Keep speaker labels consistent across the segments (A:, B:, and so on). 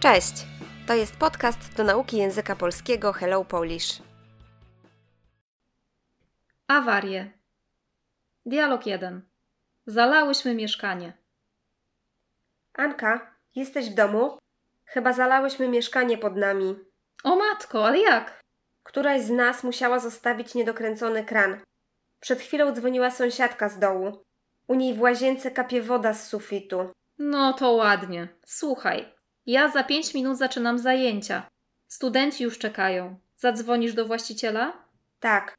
A: Cześć! To jest podcast do nauki języka polskiego Hello Polish.
B: Awarie. Dialog 1. Zalałyśmy mieszkanie.
A: Anka, jesteś w domu? Chyba zalałyśmy mieszkanie pod nami.
B: O matko, ale jak?
A: Któraś z nas musiała zostawić niedokręcony kran. Przed chwilą dzwoniła sąsiadka z dołu. U niej w łazience kapie woda z sufitu.
B: No to ładnie. Słuchaj, ja za 5 minut zaczynam zajęcia. Studenci już czekają. Zadzwonisz do właściciela?
A: Tak.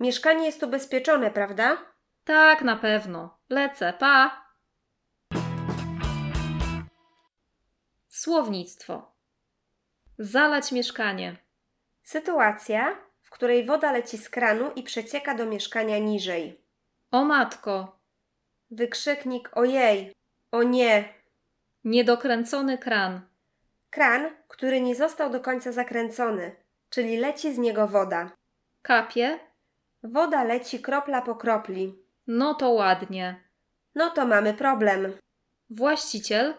A: Mieszkanie jest ubezpieczone, prawda?
B: Tak, na pewno. Lecę, pa! Słownictwo. Zalać mieszkanie.
A: Sytuacja, w której woda leci z kranu i przecieka do mieszkania niżej.
B: O matko,
A: Wykrzyknik ojej, o nie.
B: niedokręcony kran.
A: Kran, który nie został do końca zakręcony, czyli leci z niego woda.
B: Kapie?
A: Woda leci kropla po kropli.
B: No to ładnie.
A: No to mamy problem.
B: Właściciel?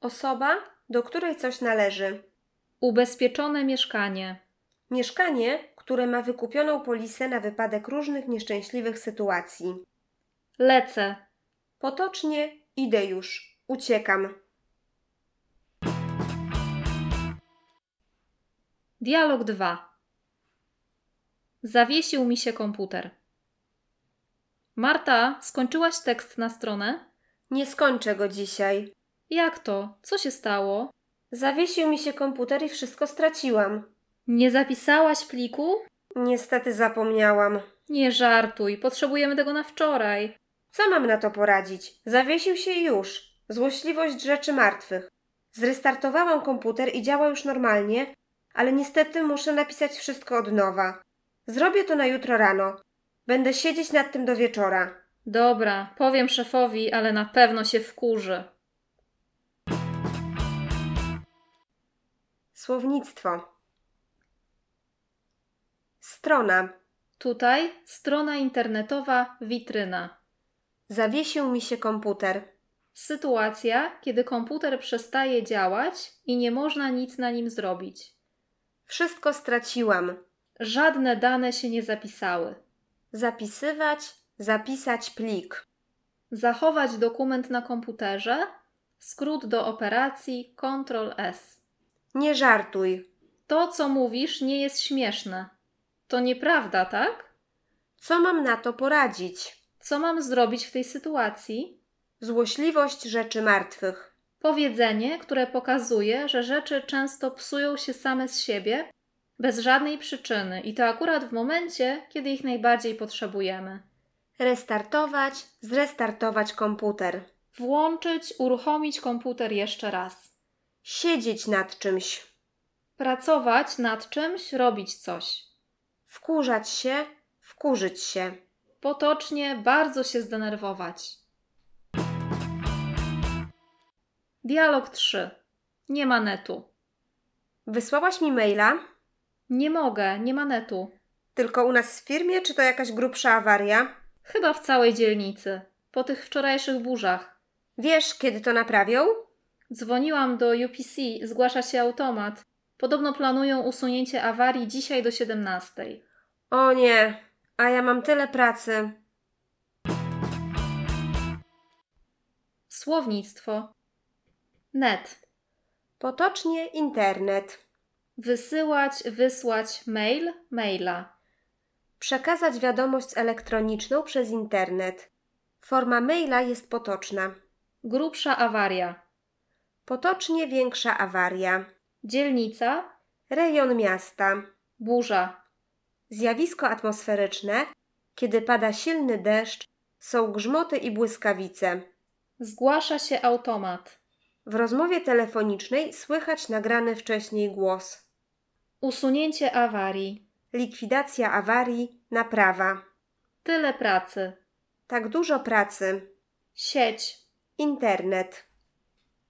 A: Osoba, do której coś należy.
B: Ubezpieczone mieszkanie.
A: Mieszkanie, które ma wykupioną polisę na wypadek różnych nieszczęśliwych sytuacji.
B: Lecę.
A: Potocznie idę już, uciekam.
B: Dialog 2. Zawiesił mi się komputer. Marta, skończyłaś tekst na stronę?
A: Nie skończę go dzisiaj.
B: Jak to? Co się stało?
A: Zawiesił mi się komputer i wszystko straciłam.
B: Nie zapisałaś pliku?
A: Niestety zapomniałam.
B: Nie żartuj, potrzebujemy tego na wczoraj.
A: Co mam na to poradzić? Zawiesił się i już. Złośliwość rzeczy martwych. Zrestartowałam komputer i działa już normalnie, ale niestety muszę napisać wszystko od nowa. Zrobię to na jutro rano. Będę siedzieć nad tym do wieczora.
B: Dobra, powiem szefowi, ale na pewno się wkurzy.
A: Słownictwo. Strona.
B: Tutaj strona internetowa witryna.
A: Zawiesił mi się komputer.
B: Sytuacja, kiedy komputer przestaje działać i nie można nic na nim zrobić.
A: Wszystko straciłam.
B: Żadne dane się nie zapisały.
A: Zapisywać, zapisać plik.
B: Zachować dokument na komputerze, skrót do operacji Ctrl-S.
A: Nie żartuj.
B: To, co mówisz, nie jest śmieszne. To nieprawda, tak?
A: Co mam na to poradzić?
B: Co mam zrobić w tej sytuacji?
A: Złośliwość rzeczy martwych.
B: Powiedzenie, które pokazuje, że rzeczy często psują się same z siebie, bez żadnej przyczyny i to akurat w momencie, kiedy ich najbardziej potrzebujemy.
A: Restartować, zrestartować komputer.
B: Włączyć, uruchomić komputer jeszcze raz.
A: Siedzieć nad czymś.
B: Pracować nad czymś, robić coś.
A: Wkurzać się, wkurzyć się.
B: Potocznie bardzo się zdenerwować. Dialog 3. Nie ma netu.
A: Wysłałaś mi maila?
B: Nie mogę, nie ma netu.
A: Tylko u nas w firmie, czy to jakaś grubsza awaria?
B: Chyba w całej dzielnicy. Po tych wczorajszych burzach.
A: Wiesz, kiedy to naprawią?
B: Dzwoniłam do UPC, zgłasza się automat. Podobno planują usunięcie awarii dzisiaj do 17.
A: O nie, a ja mam tyle pracy.
B: Słownictwo. Net.
A: Potocznie internet.
B: Wysyłać, wysłać mail, maila.
A: Przekazać wiadomość elektroniczną przez internet. Forma maila jest potoczna.
B: Grubsza awaria.
A: Potocznie większa awaria.
B: Dzielnica,
A: Rejon miasta.
B: burza.
A: Zjawisko atmosferyczne, kiedy pada silny deszcz, są grzmoty i błyskawice.
B: Zgłasza się automat.
A: W rozmowie telefonicznej słychać nagrany wcześniej głos.
B: Usunięcie awarii.
A: Likwidacja awarii, naprawa.
B: Tyle pracy.
A: Tak dużo pracy.
B: Sieć.
A: Internet.